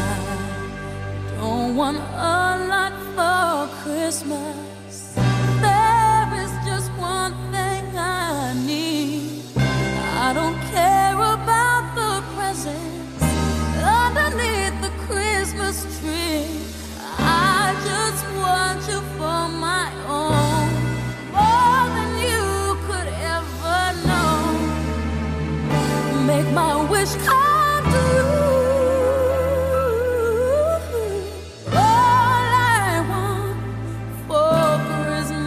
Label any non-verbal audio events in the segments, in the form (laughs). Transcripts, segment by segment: I don't want a lot for Christmas. There is just one thing I need. I don't care about the presents underneath the Christmas tree. I just want you for my own, more than you could ever know make my wish come true. All I want for Christmas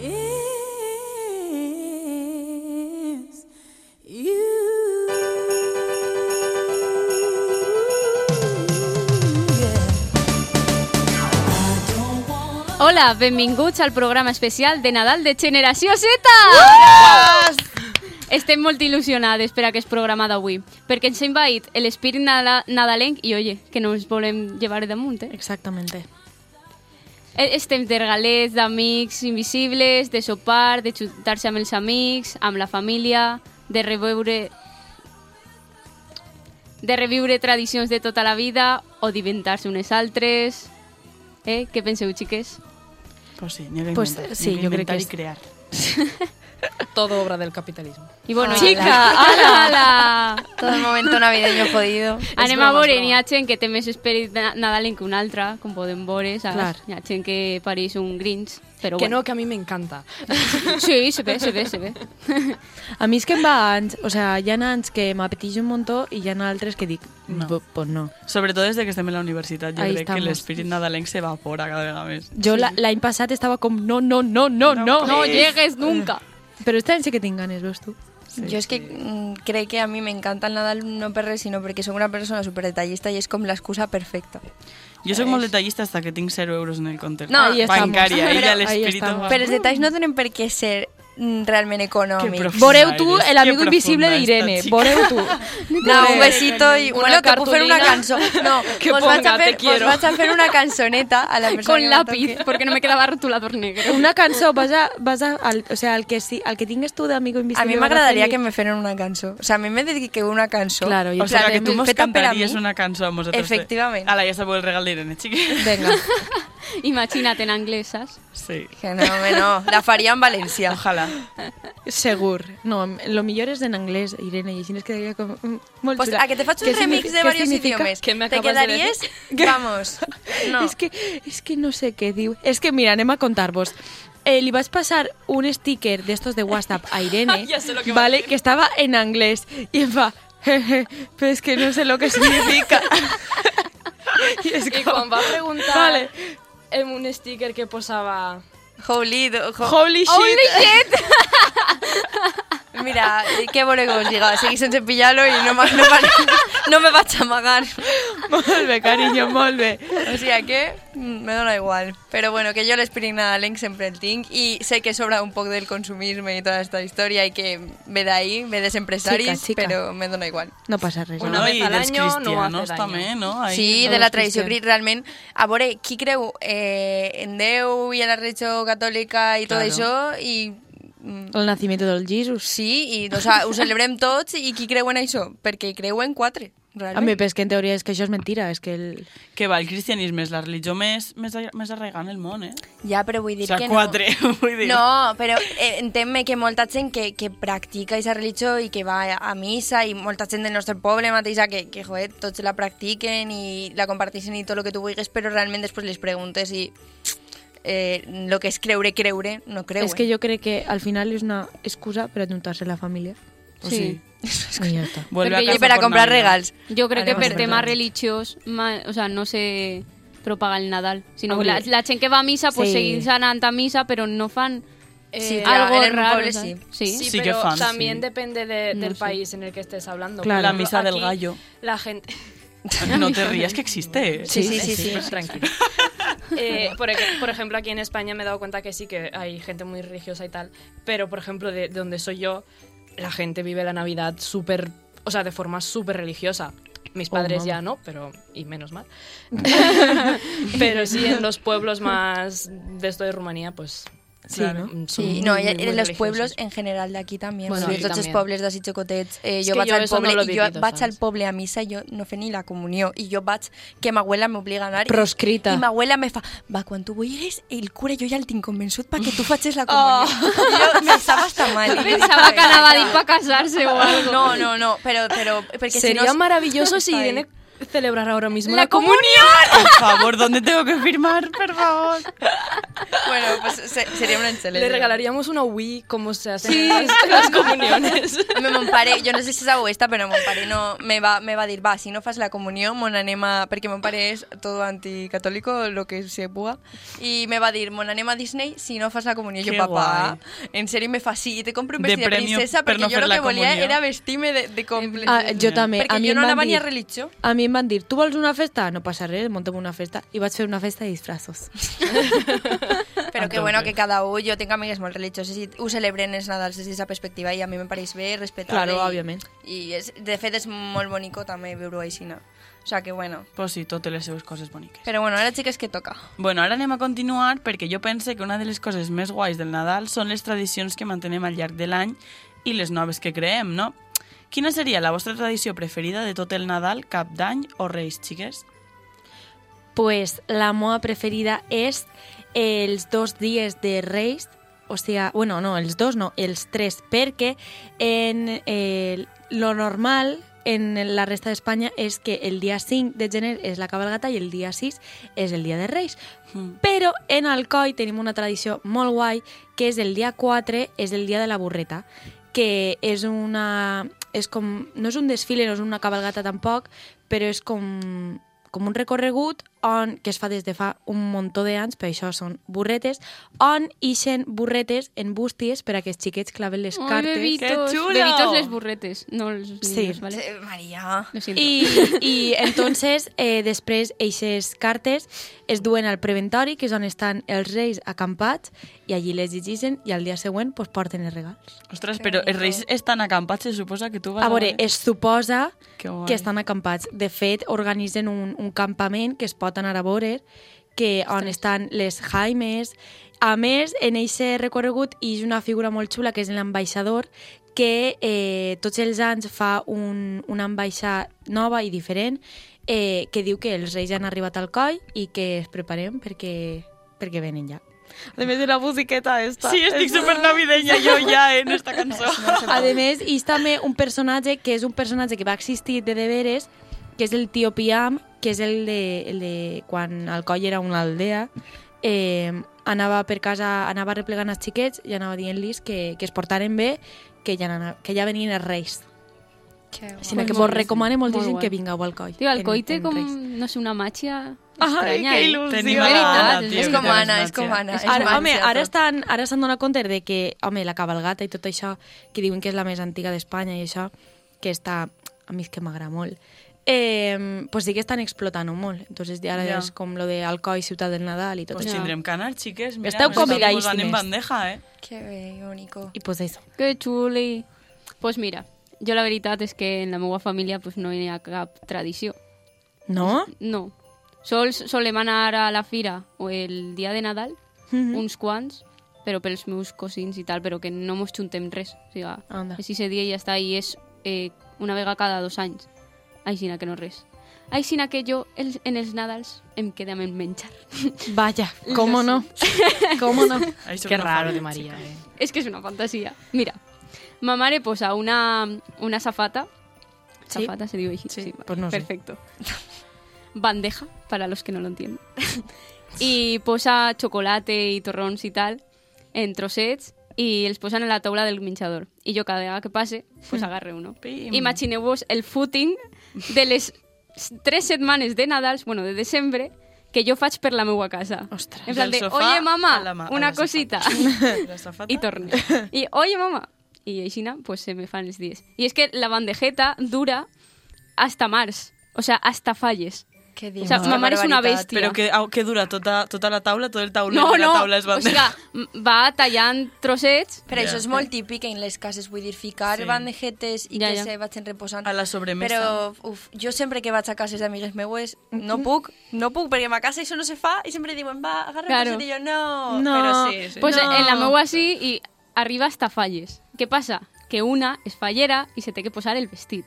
is you. Yeah. I don't wanna Hola, benvinguts al programa especial de Nadal de Generació Z! Estem molt il·lusionades per aquest programa d'avui, perquè ens ha envaït l'espirit nada nadalenc i, oye, que no ens volem llevar damunt, eh? Exactamente. Eh, Estem de regalets, d'amics invisibles, de sopar, de juntar-se amb els amics, amb la família, de reveure de reviure tradicions de tota la vida o d'inventar-se unes altres. Eh? Què penseu, xiques? Pues sí, n'hi ha que Pues, inventar, sí, n'hi ha que jo crec inventar que i és- crear. Todo obra del capitalismo. I bueno, Ah, xica, ala, (laughs) ala! Todo el momento navideño jodido. Anem broma, a veure, és broma. n'hi ha gent que té més esperit na- nadalenc que un altre, com podem veure, saps? Clar. N'hi ha gent que pareix un Grinch, però Que bueno. no, que a mí me encanta. Sí, se ve, se ve, se (laughs) ve. A mi és que em va anys, o sea, hi ha anys que m'apeteix un muntó i hi ha altres que dic, No. no. pues no. Sobretot des de que estem a la universitat, jo Ahí crec estamos. que l'espirit nadalenc s'evapora cada vegada més. Jo la- l'any passat estava com, no, no, no, no, no. No llegues nunca. Però este any sí que tinc ganes, veus tu? Yo es que mm, creo que a mí me encanta el Nadal no perre, sino porque soy una persona súper detallista y es como la excusa perfecta. Jo sóc molt detallista hasta que tinc 0 euros en el compte. No, Ahí estamos. bancària, Però- ell a ahí l'espíritu... estamos. Pero los detalles no tienen por qué ser mm, realmente económicos. Voreu tu Eres, el que amigo invisible de profunda Irene. esta chica. Voreu tu. No, un besito y Una bueno, te puedo hacer cartulina. una canción. No, Que os ponga, vas a te hacer, quiero. vas a hacer una canzoneta a la persona que Con me lápiz, toque. porque no me quedaba rotulador negro. (laughs) Una cançó, vas a... Vas a al, o sea, el que, sí, el que tingues tu d'amigo A invisible... mí me agradaría que me fueran una canción. O sea, a mí me dediqué una canción. Claro, yo O sea, Claro, que tú me mos feta per a cantaries mí. una cançó amb vosaltres. de- Efectivamente. ¿eh? Ala, ja sabeu el regal (laughs) d'Irene, xiqui. Venga. Imagínate en anglesas. Sí. Que no, hombre, no. La faría en Valencia. Ojalá. Segur. No, lo millor és en anglès, Irene, i així es quedaria com... mm, Molt Pues xula. a que te facho Què un remix signifi- de què varios significa? idiomas. ¿Qué me ¿Te acabas de quedarías? Vamos. No. És que, és que no sé què diu. És que, mira, anem a contar-vos. Eh, li vas passar un sticker d'estos de WhatsApp a (laughs) Irene, Ja sé lo que va a vale, que estava en anglès, i em va, jeje, però és que no sé lo que significa. (laughs) I és Y com, Juan va a preguntar Vale. en un sticker que posaba... Holy, do- jo- holy shit. Mira, qué borregos llega. Seguís en pillarlo y no, ma- (laughs) no, ma- no me va a chamagar. (laughs) Molt bé, carinyo, molt bé. O sea que mm, me da igual. Pero bueno, que yo les pido nada Link siempre el Tink y sé que sobra un poco del consumisme y toda esta historia y que me da ahí, me des empresarios, Chica, chica. pero me da igual. No passa res. Una no, vez i al dels año no hace cristianos daño. també, no? Ahí. Sí, no de la és tradició cristiana. cri- realment... A veure, qui creu eh, en Déu i en la religió catòlica i tot Claro. això, i... mm, El nacimiento del Jesus. Sí, i o sea, ho celebrem tots, i qui creu en això? Perquè creu en quatre, A realment. mi, però és que en teoria és que això és mentira, és que el... Que va, el cristianisme és la religió més, més, a- més arraigada en el món, eh? Ja, però vull O dir sea, que no. (laughs) quatre, vull dir. No, però eh, entén-me que molta gent que, que practica aquesta religió i que va a missa i molta gent del nostre poble mateixa que, que joder, tots la practiquen i la comparteixen i tot el que tu vulguis, però realment després les preguntes i eh, lo que és creure, creure, no És creuen. que eh? jo crec que al final és una excusa per ajuntar-se la família. Pues sí. I ja està. Vuelve Porque a yo- Y casa para por comprar Navidad. regals. Yo creo que Vale, per vamos a temas ver. religiosos, ma- o sea, no se propaga el Nadal, sino que Hombre. la, la gent que va a misa, pues Sí. seguís anant a misa, pero no fan eh, Sí, claro, algo en el raro. pueblo ¿sabes? sí. Sí. Sí que pero fan, también sí. depende de- del sé. país en el que estés hablando. Claro. Por La ejemplo, misa del aquí gallo. La gente... (laughs) No te rías que existe, eh? Sí, sí, sí, sí. (laughs) Tranquilo. Eh, por, ej- por ejemplo, aquí en España me he dado cuenta que sí que hay gente muy religiosa y tal, pero por ejemplo, de, de donde soy yo, la gente vive la Navidad súper, o sea, de forma súper religiosa. Mis padres ya no, pero y menos mal. (laughs) pero sí, en los pueblos más de esto de Rumanía, pues Sí, no? mm, són Sí, muy, no, muy, i muy en els religiosos. pueblos eh, en general d'aquí també. Bueno, Bueno, sí, aquí tots els també. pobles d'ací xicotets. Eh, És jo que vaig jo al eso no poble lo i jo divido, vaig al ¿sabes? poble a missa i jo no fer ni la comunió. I jo vaig, que ma abuela m'obliga a anar. i- Proscrita. I ma abuela me fa, va, quan tu vulguis, el cura jo ja el tinc convençut perquè tu facis la comunió. Oh. Jo m'estava estar (laughs) mal. Pensaba que anava a dir pa casarse o algo. No, no, no, però, però perquè Sería si no... maravilloso (laughs) si Ay. Irene celebrara ahora mismo La la comunión. (laughs) Por favor, ¿dónde tengo que firmar? Por favor. Bueno, pues se, seria una excelente. Le regalaríamos una Wii como se hace en las- en las (laughs) comuniones. Me mon pare, jo no sé si sabeu esta, però mon pare no, me, va, me va dir, va, si no fas la comunió, mon anem a... Perquè mon pare és tot anticatólico, lo que se puga. I me va dir, mon anem a Disney si no fas la comunió. jo, Qué papà, en sèrio, me fa, sí, te compro un De vestit de, premio princesa, per no perquè jo fer el que la volia comunió. era vestir-me de, de complet. Ah, jo també. Perquè a mi em jo no van anava ni a dir- religió. A mi em van dir, tu vols una festa? No passa res, montem una festa. I vaig fer una festa de disfraços. Però que bueno, que cada un, jo tinc amigues molt religioses i ho celebren els Nadals des d'aquesta perspectiva i a mi em pareix bé, respectable. Claro, i- òbviament. I és, de fet és molt bonico també veure-ho així. no? O sea que bueno. Pues sí, totes les seves coses boniques. Però bueno, ara xiques que toca. Bueno, ara anem a continuar perquè jo pense que una de les coses més guais del Nadal són les tradicions que mantenem al llarg de l'any i les noves que creem, no? Quina seria la vostra tradició preferida de tot el Nadal, Cap d'Any o Reis, xiques? (laughs) Pues la moda preferida és els dos dies de Reis, o sigui, bueno, no, els dos no, els tres, perquè en eh, lo normal en la resta d'Espanya és que el dia 5 de gener és la cabalgata i el dia 6 és el dia de Reis. Mm. Però en Alcoi tenim una tradició molt guai, que és el dia 4, és el dia de la burreta, que és una... És com, no és un desfile, no és una cabalgata tampoc, però és com, com un recorregut on, que es fa des de fa un muntó d'anys, per això són burretes, on ixen burretes en bústies per a que els xiquets claven les Ay, cartes. bebitos, ¡Qué chulo! bebitos les burretes, no los niños, Sí. ¿vale? Eh, (laughs) Maria. Lo siento. I, i entonces, eh, després, eixes cartes es duen al preventori, que és on estan els reis acampats, i allí les llegeixen, i al dia següent pues, porten els regals. Ostres, però els Reis estan acampats, se suposa que tu vas... A veure, es suposa Que guai. que estan acampats. De fet, organitzen un, un campament que es pot anar a veure, que on estan les Jaimes. A més, en aquest recorregut hi ha una figura molt xula, que és l'ambaixador, que eh, tots els anys fa un, una ambaixa nova i diferent, eh, que diu que els reis ja han arribat al coll i que es preparem perquè, perquè venen ja. A més de la musiqueta esta. Sí, estic supernavideña jo ja eh, en esta (laughs) cançó. A més, hi és també un personatge que és un personatge que va existir de deberes, que és el tio Piam, que és el de, el de quan el coll era una aldea, eh, anava per casa, anava replegant els xiquets i anava dient-los que, que es portaren bé, que ja, anava, que ja venien els reis. Que Sinó que molt vos recomano moltíssim Molt guai. que vingueu al coll. Tío, al en- coite en com, Reis. no sé, una matxa Ai, extraña, que eh? Tenim il·lusió! a la Veritat, Anna, és tio, És que com tens Anna, és com màgia. Anna. Ah, és Ara, màgia home, ara tot. estan, ara s'han donat compte de que, home, la cabalgata i tot això, que diuen que és la més antiga d'Espanya i això, que està, a mi és que m'agrada molt, eh, pues sí que estan explotant-ho molt. Entonces, ara Ja. ja. és com lo de Alcoi, Ciutat del Nadal i tot Pues això. tindrem que anar, xiques. Mira, Esteu no sé si us convidadíssimes. van en bandeja, eh? Que bé, que bonico. I pues eso. Que xuli. Pues mira, jo la veritat és que en la meva família pues, no hi ha cap tradició. No? No. Sols solem anar a la fira o el dia de Nadal, Mhm. uns quants, però pels meus cosins i tal, però que no mos juntem res. O sigui, Anda. és ese dia i ja està, i és eh, una vegada cada dos anys. Aixina que no res. Aixina que jo el, en els Nadals em quedem amb el menjar. Vaya, cómo no. cómo no. Això Qué no fa raro bé, de María. xica. eh. Es que es una fantasía. Mira, mamá mare posa una, una zafata. Sí. Zafata se digo. Sí, vale, pues no sé. perfecto. Bandeja, para los que no lo entienden. y posa chocolate y torrons y tal en trossets y els posan en la taula del minchador. Y yo cada vegada que pase, pues agarre uno. Hmm. Pim. Imagineu-vos el footing de les tres setmanes de Nadal, bueno, de desembre, que jo faig per la meua casa. Ostres. En plan Del de, sofà oye, mamá, a la ma- a una la (laughs) sofà". cosita. (laughs) La safata. y (laughs) torne. Y oye, mamá. Y Aixina, pues se me fan los 10. Y es que la bandejeta dura hasta març. O sea, hasta falles. Què O sea, Quina mamar és una barbaritat. bèstia. Però que, au, que dura tota, tota la taula, tot el taulell No, de la no, taula és o sigui, bandera. m- va tallant trossets Però Ja. això és molt típic en les cases, vull dir, ficar Sí. bandejetes i Ja, que ja. se vagin reposant. A la sobremesa. Però, uf, jo sempre que vaig a cases d'amigues meues, no puc, no puc, perquè a ma casa això no se fa i sempre diuen, va, agarra Claro. el coset i jo, no. No. eh, Però sí, sí. Pues No. en la meua así y arriba hasta falles. ¿Qué pasa? Que una es fallera y se te que posar el vestido.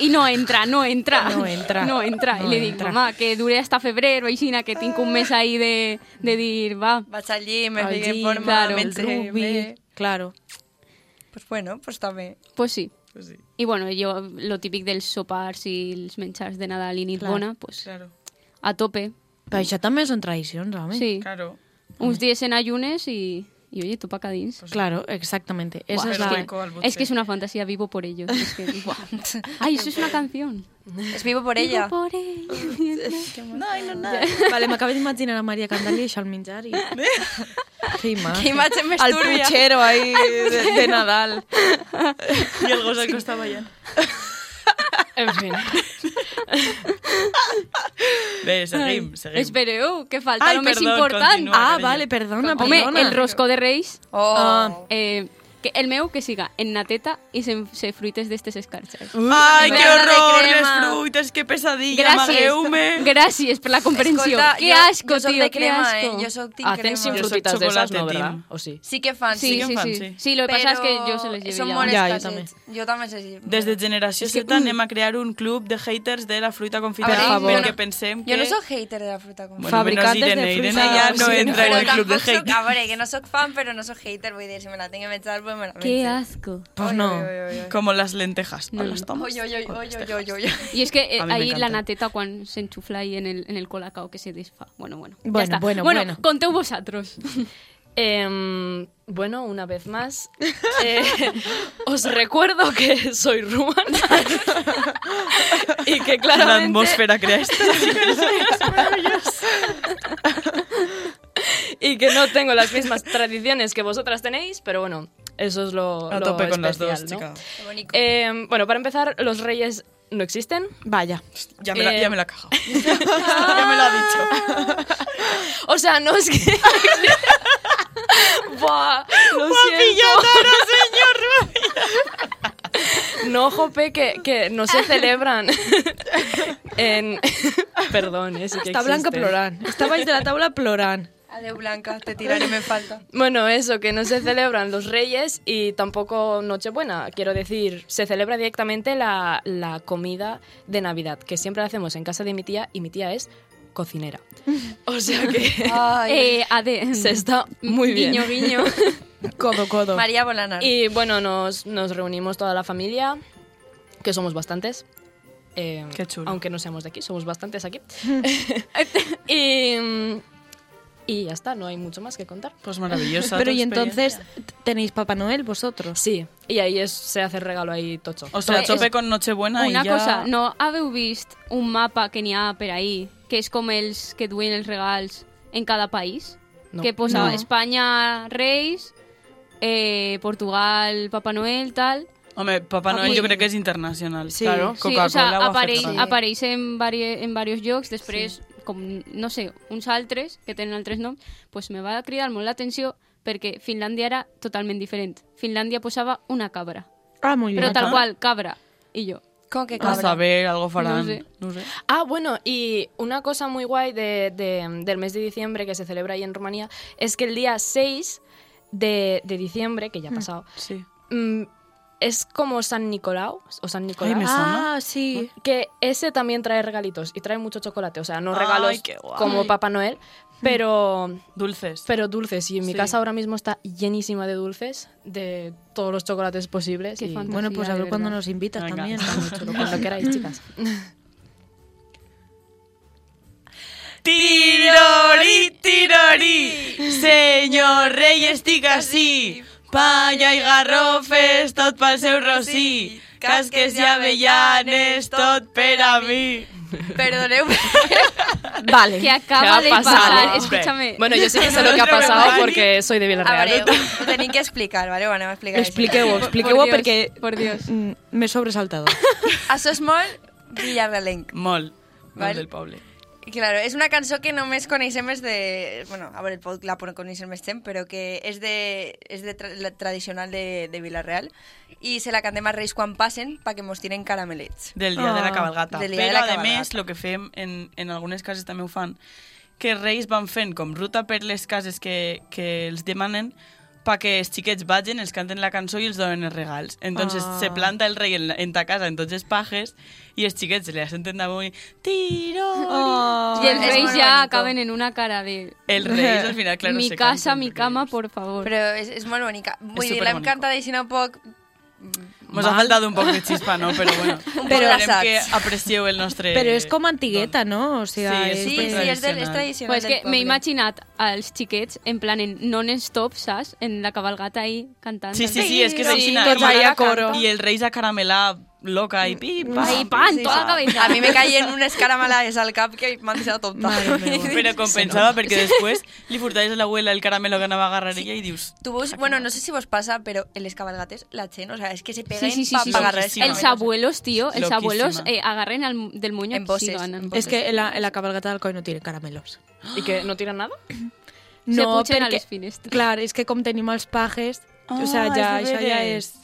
Y no entra, no entra. No entra. (laughs) No entra. No y le digo, entra. mamá, que dure hasta febrero, Aixina, que tengo un mes ahí de, de dir, va. vaig allí, me Allí, fiqué en forma, claro, me el entregué, rugby. me- Claro. Pues bueno, pues també. Pues sí. Pues sí, Y bueno, yo lo típico del sopars y los menchars de Nadal y Nirvana, pues claro. a tope. Però això també són tradicions, home. Sí. (laughs) Claro. Uns días en ayunes y, y oye, tú pa' dins. Claro, exactamente. Esa Buah, es es, la... rico. al que, es que es boche. una fantasía, vivo por ello. Es que- (laughs) Ay, eso es una (laughs) canción. Es (laughs) vivo por ella. Vivo por (laughs) ello. Vale, m'acabo d'imaginar a Maria Candali això al (laughs) menjar i... Que Ah, Que imatge. imatge més turbia. ahí de, de Nadal. I el gos al costat ballant. En fin. Bé, seguim, seguim. Espereu, que oh, falta Ai, lo més perdón, important. continua. Ah, cariño. vale, perdona, Home, perdona. el roscó de Reis, Oh. Ah. eh, que el meu que siga en na teta i se, se fruites d'estes escarxes. Ai, que Banana de Uh, horror, les crema. fruites, que pesadilla, Gràcies, amagueu-me. gràcies per la comprensió. Escolta, que jo- asco, jo soc tio, de crema, que asco. eh? Jo soc team Hacen sin crema. Yo soy frutitas de esas, chocolate, ¿no, verdad? team. ¿O sí? Sí que fan, Sí, sí. que sí, fan, sí. sí. Sí, lo que passa és que jo se les llevo ja. Són molt Ja, jo escassets. Jo també sé si... Des de Generació És que, Z anem a crear un club de haters de la fruita confitada A veure, perquè jo no- pensem que... Jo no sóc hater de la fruta com Bueno, Fabricantes menos Irene, de Irene fruta. ja no Sí, entra en Però el club de tampoc soc- hate. A veure, que no sóc fan, però no sóc hater, vull dir, si me la tinc que menjar, pues me la menjo. Que asco. Pues Oi, no. oi, oi, oi, oi. Como las lentejas. No, ¿O las no. tomas? Oi, oi, oi, ¿O oi, las oi, dejas? oi, oi. I és que eh, A mi ahir m'encanta. la nateta quan s'enxufla ahí en el, en el colacao que se desfa. Bueno, bueno, Bueno, ja està. bueno, bueno, bueno. conteu vosaltres. Em, bueno, una vez más, eh, (laughs) os recuerdo que soy rumana (laughs) y que Una claramente atmósfera crea (laughs) esto. y que no tengo las mismas tradiciones que vosotras tenéis, pero bueno, eso es lo, A lo tope con las dos, especial, ¿no? chica. Qué bonito. Em, bueno, para empezar, los reyes no existen. Vaya. Ya me la, Eh, ya me la cago. ya me lo ha dicho. O sea, no es que. (laughs) Buah, lo siento. (laughs) No, jope, que, que no se celebran. (laughs) en... (laughs) Perdón, es que Està Blanca existen. plorant. Està baix de la taula plorant. Adeu, Blanca, te tiraré, me falta. Bueno, eso, que no se celebran los reyes y tampoco Nochebuena. Quiero decir, se celebra directamente la, la comida de Navidad, que siempre la hacemos en casa de mi tía y mi tía es cocinera. O sea (laughs) que Ay. (laughs) Eh, Ade. se está muy bien. Guiño, guiño. Codo, codo. María Bolanar. eh, Y bueno, nos, nos reunimos toda la familia, que somos bastantes. Eh, Qué chulo. Aunque no seamos de aquí, somos (laughs) bastantes aquí. (laughs) y, mm, y ya está, no hay mucho más que contar. (laughs) Pues maravillosa. Pero tu y experiencia. entonces, ¿tenéis Papá Noel vosotros? Sí, y ahí es- se hace el regalo ahí tocho. O sea, Eh, tope es- con Nochebuena Una y ya... cosa, no haveu vist un mapa que n'hi ha per ahir, que és com els que duen els regals en cada país? No. Que posa No. Espanya, Reis, eh, Portugal, Papà Noel, tal... Hombre, Papá Noel Aquí. yo creo que es internacional. Sí. Claro, Sí, Coca-Cola o sea, o apareix, Ferrero. apareix en, vari, en varios llocs, després, sí. com, no sé, uns altres, que tenen altres noms, pues me va cridar molt l'atenció perquè Finlàndia era totalment diferent. Finlàndia posava una cabra, Ah, muy bien. però tal cabra? qual, cabra, i jo. Con qué A cabra. saber, algo farán. No sé. No sé. Ah, bueno, y una cosa muy guay de- de- del mes de diciembre que se celebra ahí en Rumanía es que el día 6 de, de diciembre, que ya ha pasado, Sí. mm, es como San Nicolau, o San Nicolás. me Ah, sí. Que ese también trae regalitos y trae mucho chocolate. O sea, no Ay, regalos qué guay. como Papá Noel, pero, Dulces. pero dulces. Y en mi Sí. casa ahora mismo está llenísima de dulces, de todos los chocolates posibles. Qué y fan- Bueno, pues a de ver cuándo verdad. nos invitas Venga. también. (laughs) está muy chulo, cuando queráis, (laughs) chicas. Tirori, tirori, senyor rei estic així, palla i garrofes, tot pel seu rossí, casques i avellanes, tot per a mi. Perdoneu. Eh, Vale. Que acaba de pasar, hombre? escúchame. Bueno, yo sí que sé No lo que ha te me pasado vale. porque soy de A Villarreal. veure, Ah, ho tenim que explicar, vale? Ho anem a explicar. així. Expliqueu-ho, expliqueu-ho Dios, perquè... Por Dios. Mm, M'he sobresaltado. Això és molt villarrealenc. Molt, Val. molt del poble. Claro, és una cançó que només coneixem és de... Bueno, a veure, el pot la coneixem més temps, però que és, de, és de tra la tradicional de, de Vilareal i se la cantem a Reis quan passen perquè mos tiren caramelets. Del dia de la Ah, cabalgata. del dia de Però, la a cabalgata. més, el que fem, en, en algunes cases també ho fan, que els reis van fent com ruta per les cases que, que els demanen perquè els xiquets vagin, els canten la cançó i els donen els regals. Entonces Ah. se planta el rei en, la- en ta casa, en tots els pajes, i els xiquets se li senten damunt i... Tiro! Oh. Y el Es rey muy bonito. ya acaben en una cara de... El rei al final, claro, mi se casa, canten mi els cama, reis. por favor. Però és, és molt bonica. Vull dir, l'hem superbonico. cantat així no poc... Mos ha faltat un poc de xispa, no? Però bueno, poc però esperem d'assats. que aprecieu el nostre... Però és com antigueta, no? O sigui, Sí, és... Sí, sí, supertradicional. és, del, és tradicional Pues del que m'he poble. imaginat als xiquets en plan en non-stop, saps? En la cabalgata ahí cantant. Sí, sí, sí, és que és Sí, així. tots ahí a coro. I el rei s'ha caramelat loca i pipa. Ahí, pan, Sí, toda tota sí. la cabeza. A mi me caien unes caramales al cap que m'han deixat tonta. (laughs) Però (laughs) compensava perquè després li furtaves a l'abuela el caramelo que anava a agarrar ella i dius... Tu veus, bueno, no sé si vos pasa, pero en les cabalgates la gent, o sea, es que se peguen Sí, sí, sí, pa sí, sí. agarrar Loquísima. el Els abuelos, tío, els Loquísima. abuelos eh, agarren al, mu- del moño En que sí voces. ganan. És que en la, en la cabalgata del coi no tiren caramelos. ¿Y que no tiran nada? Se No, pugen a perquè- les finestres. Clar, és que com tenim els pajes... Ah, o sigui, ja, és això ja veres. és...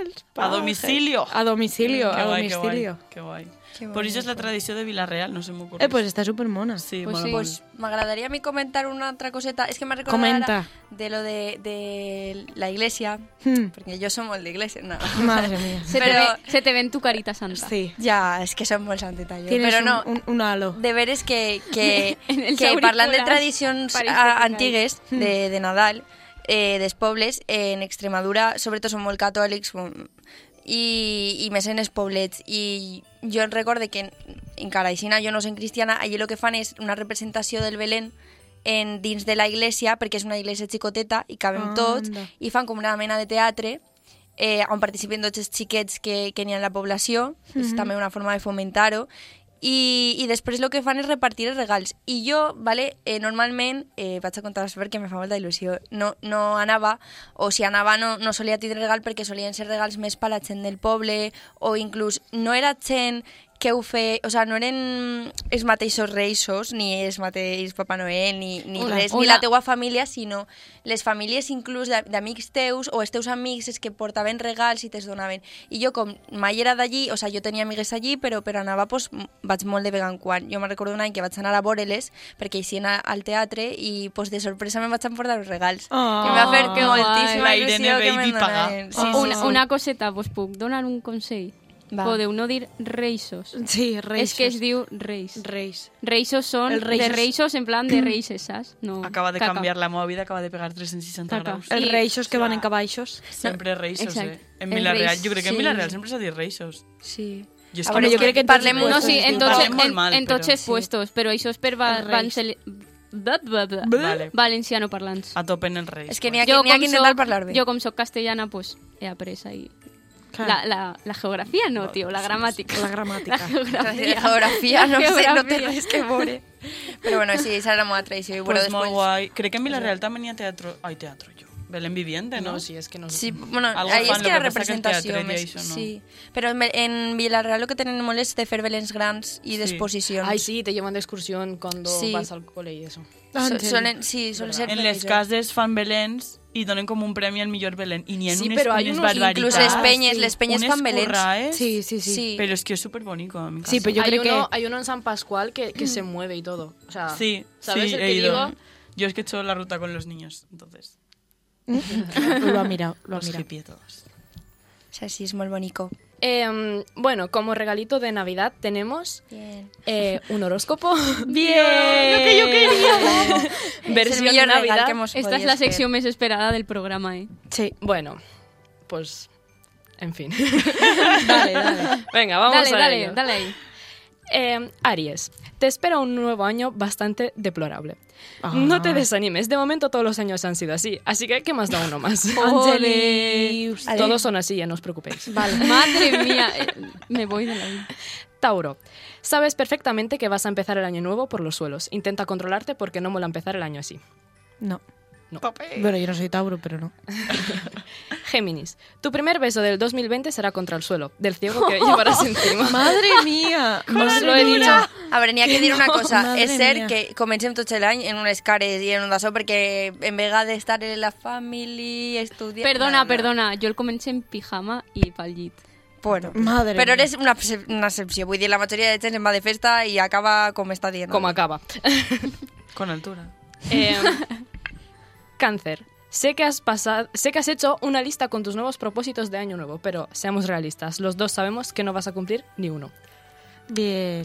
Els A pajes. domicilio. A domicilio, a guai, domicilio. Que guai, que guai. Per això és la tradició de Vilareal, no se m'ocorre. Eh, pues està supermona. sí, pues pues sí. sí. Pues m'agradaria a mi comentar una altra coseta. Es que me recordado Comenta. ahora de lo de, de la iglesia, Hmm. (laughs) porque yo somos el de iglesia, no. (laughs) Madre mía. Se, te Però- ve, se te ve en tu carita santa. Sí. Ja, és que som molt santeta jo. Tienes Però no, un, un, un halo. deberes que, que, (laughs) En els que parlant de auriculars. tradicions Parece que a- Mm. antigues de, de Nadal, eh, dels pobles, eh, en Extremadura, sobretot són molt catòlics, bon, i, i més en els poblets. I jo en recorde que, en- encara així, jo no sent cristiana, allí el que fan és una representació del Belén en, dins de la iglesia, perquè és una iglesia xicoteta i cabem Anda. tots, i fan com una mena de teatre eh, on participen tots els xiquets que, que n'hi ha a la població, Mhm. és també una forma de fomentar-ho, i, i després el que fan és repartir els regals. I jo, vale, eh, normalment, eh, vaig a contar la perquè me fa molta il·lusió, no, no anava, o si anava no, no solia tindre regal perquè solien ser regals més per la gent del poble, o inclús no era gent que ho fe... O sea, no eren els mateixos reixos, ni els mateix Papa Noel, ni, ni Hola, res, ni hola. la teua família, sinó les famílies inclús de- d'amics teus o els teus amics és que portaven regals i te'ls donaven. I jo com mai era d'allí, o sea, jo tenia amigues allí, però, però anava, pues, m- vaig molt de vegada en quan. Jo me'n recordo un any que vaig anar a Boreles, perquè així anar al teatre, i pues, de sorpresa me'n vaig emportar els regals. Oh, I em va fer que guai. moltíssima Ah, La Irene il·lusió que Baby me'n paga. donaven. Sí, sí, Oh, una, sí. una coseta, vos puc donar un consell? Va. Podeu no dir reixos. Sí, reis. És que es diu reis. Reis. Reixos són El reixos- de reixos en plan de reixes, saps? No, Acaba de Pues caca. canviar la meva vida, acaba de pegar 360 Caca. graus. Els I- reixos que van en cabaixos. Sempre reixos, eh? exacte. En Els Vilareal, reis, jo crec que sí. en Vilareal sempre s'ha dit reixos. Sí. Jo A veure, no jo sé- crec que en tots parlem els No, puestos sí, és en distinta. tots, (laughs) Parlem molt en, mal, en però- tots els puestos, però això és per va, Els reis. van cele... Bla, bla, bla. Vale. Valenciano parlants. A tope en els reis. És que n'hi ha, que- Jo n'hi ha com, que intentar parlar soc, bé. jo com soc castellana, pues, he après ahí. La, la, la geografía no, tío, la gramática. La (laughs) gramàtica. La Geografia, geografia. geografia no sé, no té Geografia. (laughs) res que veure. Però bueno, sí, esa era la meva tradició. I bueno, Pues molt després... guai. Crec que en Vilareal també n'hi ha teatro... Ai, teatro, jo. Belén Viviente, no? No, sí, es que no. Sí, bueno, Algo ahí fan, és que lo que passa la que en representació teatre ja més... això no. Sí, però en, en Villarreal el que tenen molt és de fer belens grans i Sí. d'exposicions. Ay, sí, te llevan de excursión cuando Sí. vas al cole y eso. Ah, en So, sèrio. solen, sí, solen ser En les feliços. cases fan belens i donen com un premi al millor belen. I n'hi ha Sí, unes, però hi ha unes unos- Inclús barbaritats. les penyes, les penyes Ah, unes fan belens. curraes. Sí, sí, sí. Sí. Pero es que es súper bonito a mi casa. Sí, però jo hay, crec que... uno, hay uno en San Pascual que, que (clears throat) se mueve y todo. O sea, Sí, ¿sabes sí, el he que ido. digo? Yo es que he hecho la ruta con los niños, entonces. (laughs) Lo ha mirado, lo ha Los mirado. hippie todos. O sea, sí, és molt bonico. Em, bueno, como regalito de Navidad tenemos (laughs) Bien. eh, un (laughs) horóscopo. Bien. Lo que yo quería. És (laughs) el Versión de millor Navidad. regal que hemos Esta es la sección més esperada del programa, eh? Sí. Bueno, pues. En fin. Dale, (laughs) dale. (laughs) Venga, vamos dale, a dale, ello. dale ahí. Eh, Aries, te espera un nuevo año bastante deplorable. No te desanimes, de momento todos los años han sido así, así que ¿qué más da uno (laughs) más? Angelis. Vale. todos son así, ya no os preocupéis. Madre mía, eh, me voy de la vida. Tauro, sabes perfectamente que vas a empezar el año nuevo por los suelos. Intenta controlarte porque no mola empezar el año así. No. Bueno, jo no soy Tauro, però no. Géminis, tu primer beso del 2020 será contra el suelo, del ciego que llevarás encima. Madre mía! Os lo he dicho. A veure, n'hi ha que dir una cosa. madre És cert mía. que comencem tot l'any en unes cares i en un d'això, perquè en vegada d'estar en la família, estudiant... Perdona, No, no. perdona, jo el comencé en pijama i pel llit. Bueno, Madre però mía. eres una, excep- una excepció. Vull dir, la majoria de gent se'n va de festa i acaba com està dient. Como acaba. Con altura. Eh, cáncer. Sé que, has pasado, sé que has hecho una lista con tus nuevos propósitos de año nuevo, pero seamos realistas, los dos sabemos que no vas a cumplir ni uno. Bien.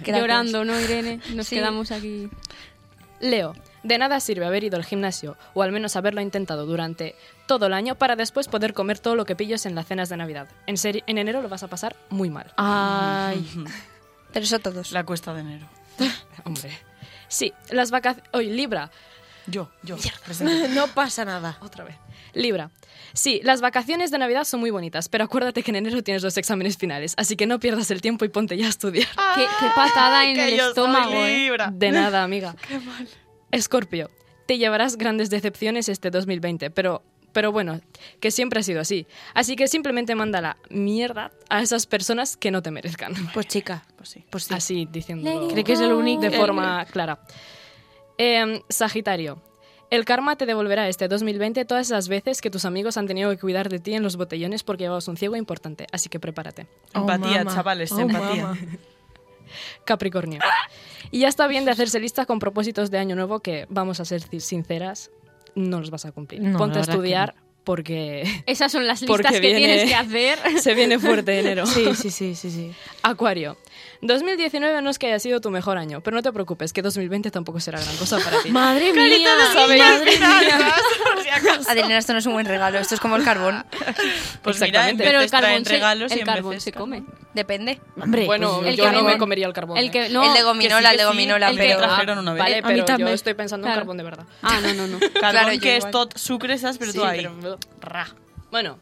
Gracias. Llorando, ¿no, Irene? Nos quedamos aquí. Leo, de nada sirve haber ido al gimnasio, o al menos haberlo intentado durante todo el año, para después poder comer todo lo que pilles en las cenas de Navidad. En, serio- en enero lo vas a pasar muy mal. Ah. Ay. Pero eso todos. (laughs) La cuesta de enero. Hombre. Sí, las vacaciones... Hoy, Libra. Yo, yo. Pues presente. (laughs) No pasa nada. Otra vez. Libra. Sí, las vacaciones de Navidad son muy bonitas, pero acuérdate que en enero tienes los exámenes finales, así que no pierdas el tiempo y ponte ya a estudiar. Qué, qué patada en que el yo soy estómago, eh. Libra. De nada, amiga. Qué mal. Escorpio, te llevarás grandes decepciones este 2020, pero, pero bueno, que siempre ha sido así. Así que simplemente manda la mierda a esas personas que no te merezcan. Pues chica, Pues sí. pues sí. Así diciendo. Crec que és l'únic... de forma clara. Em, Sagitario. El karma te devolverá este 2020 todas las veces que tus amigos han tenido que cuidar de ti en los botellones porque llevabas un ciego importante, así que prepárate. Oh, Empatía, mama. chavales, Oh, empatía. mama. Capricornio. Y ya está bien de hacerse listas con propósitos de año nuevo que, vamos a ser ci- sinceras, no los vas a cumplir. No, la Ponte a verdad estudiar porque (laughs) Esas son las Porque listas que viene- tienes que (laughs) hacer. se viene fuerte enero. Sí, sí, sí, sí, sí. Acuario. 2019 no es que haya sido tu mejor año, pero no te preocupes, que 2020 tampoco será gran cosa para (laughs) (laughs) ti. Madre mía. ¿Sabéis? Adelina, esto no es un buen regalo. Esto es como el carbón. Pues mira, en Exactamente. veces Pero el carbón traen se, regalos y el en carbón veces se come. Depende. Hombre, Bueno, El yo que no venden- me comería el carbón. El ¿eh? que no. el de gominola, el de gominola. el que- pero... trajeron una vez. Vale, A mí pero yo también. estoy pensando en Claro. carbón de verdad. Ah, no, no, (laughs) no. Carbón Claro, yo que igual. és tot sucre, saps? Però tu ahí. pero- Ra. Bueno,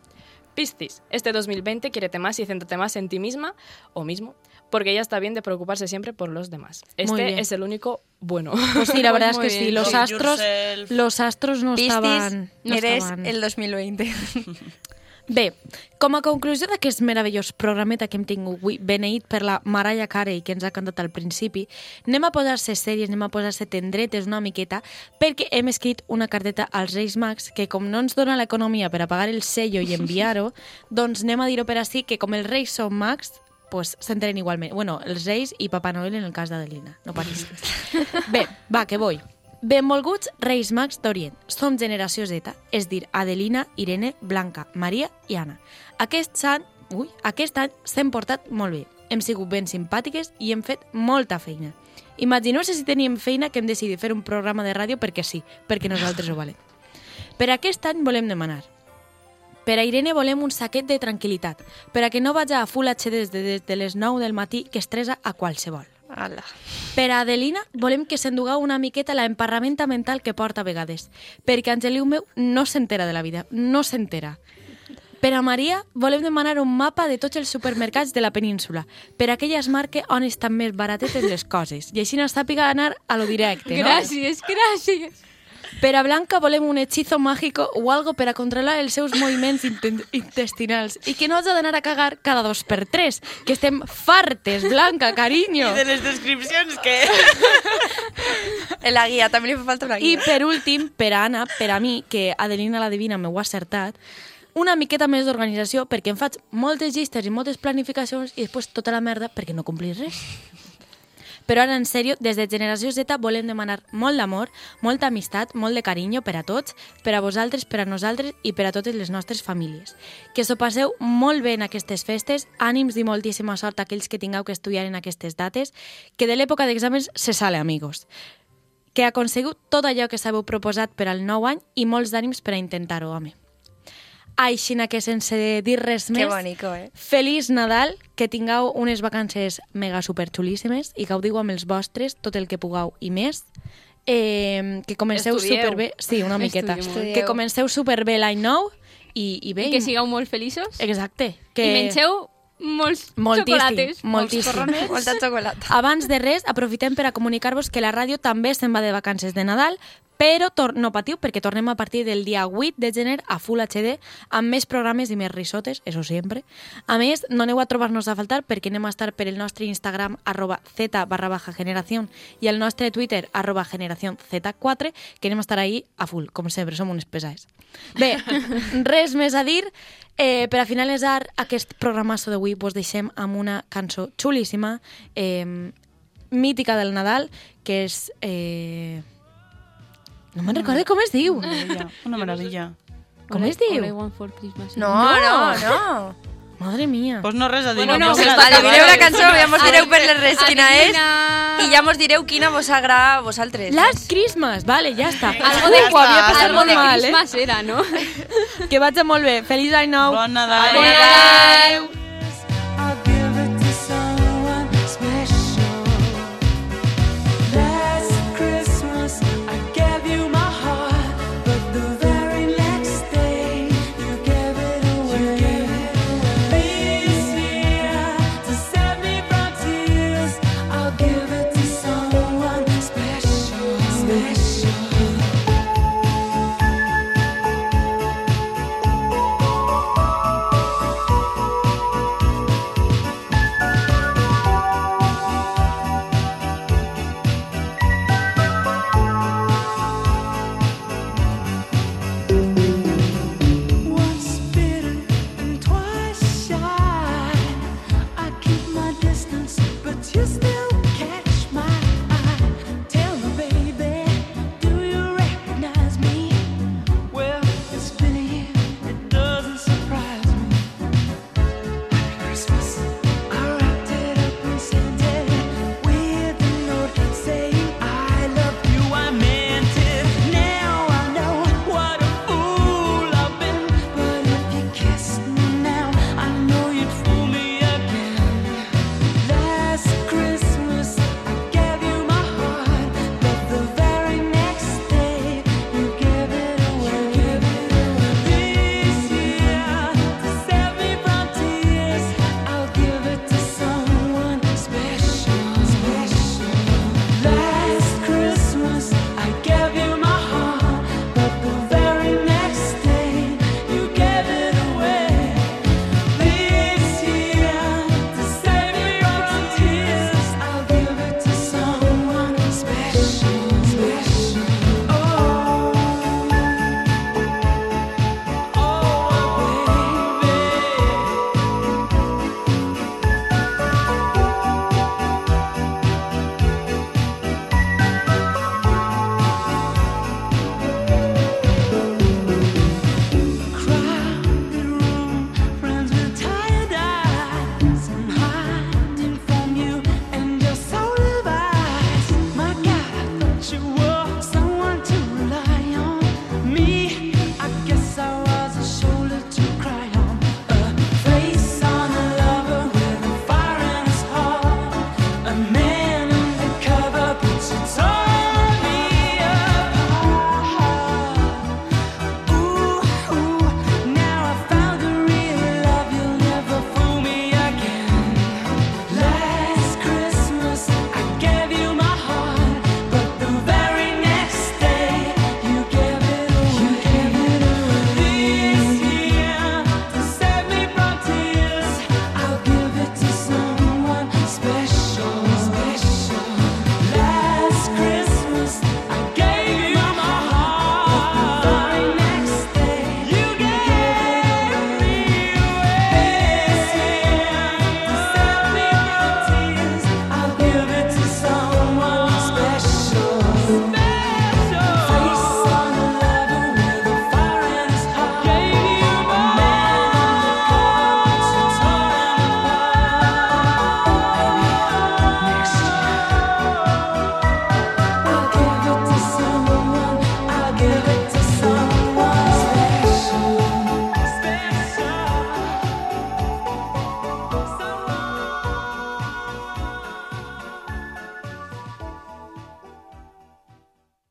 Piscis, este 2020 quiérete más y céntrate más en ti misma o mismo, porque ya está bien de preocuparse siempre por los demás. Muy Este bien. es el único bueno. Pues (laughs) sí, la verdad Pues es que muy sí. bien. Los Love astros, yourself. los astros no Piscis, estaban... No eres estaven. el 2020. Bé, com a conclusió d'aquest meravellós programeta que hem tingut avui, beneït per la Mariah Carey, que ens ha cantat al principi, anem a posar-se sèries, anem a posar-se tendretes una miqueta, perquè hem escrit una carteta als Reis Mags, que com no ens dona l'economia per a pagar el sello i enviar-ho, doncs anem a dir-ho per així, que com els Reis són mags, pues s'entenen igualment. Bueno, els Reis i Papa Noel en el cas d'Adelina, no paris. Bé, va, que voy. Benvolguts Reis Mags d'Orient. Som generació Z, és dir, Adelina, Irene, Blanca, Maria i Anna. Aquest any, ui, aquest any s'hem portat molt bé. Hem sigut ben simpàtiques i hem fet molta feina. Imagineu-se si teníem feina que hem decidit fer un programa de ràdio perquè sí, perquè nosaltres ho valem. Per aquest any volem demanar per a Irene volem un saquet de tranquil·litat, per a que no vaja a Full HD des de, des de les 9 del matí que estressa a qualsevol. Ala. Per a Adelina volem que s'enduga una miqueta la emparramenta mental que porta a vegades, perquè Angeliu meu no s'entera de la vida, no s'entera. Per a Maria volem demanar un mapa de tots els supermercats de la península, per a aquelles marques on estan més baratetes les coses, i així no sàpiga anar a lo directe, no? Gràcies, gràcies. Per a Blanca volem un hechizo mágico o algo per a controlar els seus moviments inten- intestinals i que no has d'anar a cagar cada dos per tres, que estem fartes, Blanca, carinyo. De les descripcions que... (laughs) En la guía, también le falta una I guía. per últim, per a Anna, per a mi, que Adelina la Divina m'ho ha acertat, una miqueta més d'organització perquè em faig moltes llistes i moltes planificacions i després tota la merda perquè no complís res. Però ara, en sèrio, des de Generació Z volem demanar molt d'amor, molta amistat, molt de carinyo per a tots, per a vosaltres, per a nosaltres i per a totes les nostres famílies. Que s'ho passeu molt bé en aquestes festes, ànims i moltíssima sort a aquells que tingueu que estudiar en aquestes dates, que de l'època d'exàmens se sale, amigos que aconseguiu tot allò que s'haveu proposat per al nou any i molts d'ànims per a intentar-ho, home. Aixina que sense dir res Qué més, bonito, eh? feliç Nadal, que tingueu unes vacances mega superxulíssimes i gaudiu amb els vostres tot el que pugueu i més. Eh, que comenceu Estudieu. superbé... Sí, una miqueta. Estudieu molt. Que comenceu superbé l'any nou i, i bé... I que sigueu molt feliços. Eh, Exacte. Que... Que... I mengeu molts Moltíssim, xocolates. moltíssim. Molta xocolata. Abans de res, aprofitem per a comunicar-vos que la ràdio també se'n va de vacances de Nadal, Però tor no patiu, perquè tornem a partir del dia 8 de gener a Full HD amb més programes i més risotes, eso sempre. A més, no aneu a trobar-nos a faltar perquè anem a estar per el nostre Instagram arroba z barra baja generació i el nostre Twitter arroba generació z4 que anem a estar ahí a full, com sempre, som uns pesats. Bé, (laughs) res més a dir. Eh, per a finalitzar aquest programasso d'avui vos deixem amb una cançó xulíssima, eh, mítica del Nadal, que és... Eh... No me'n recordo com es diu. Maravilla, Una maravilla. Com All I- es diu? All I want for Christmas. No, no, no. Madre mía. Pues no res a dir. Bueno, no, pues pues nada. Vale, Vale. mireu la cançó, ja mos direu per les res quina és Adivina. i ja mos direu quina vos agrada a vosaltres. Last Christmas, vale, ja està. Algo de, Guau, havia passat algo molt de mal, eh? Christmas era, ¿no? Que vagi molt bé. Feliç any nou. Bon Nadal. Bon Nadal. Oh.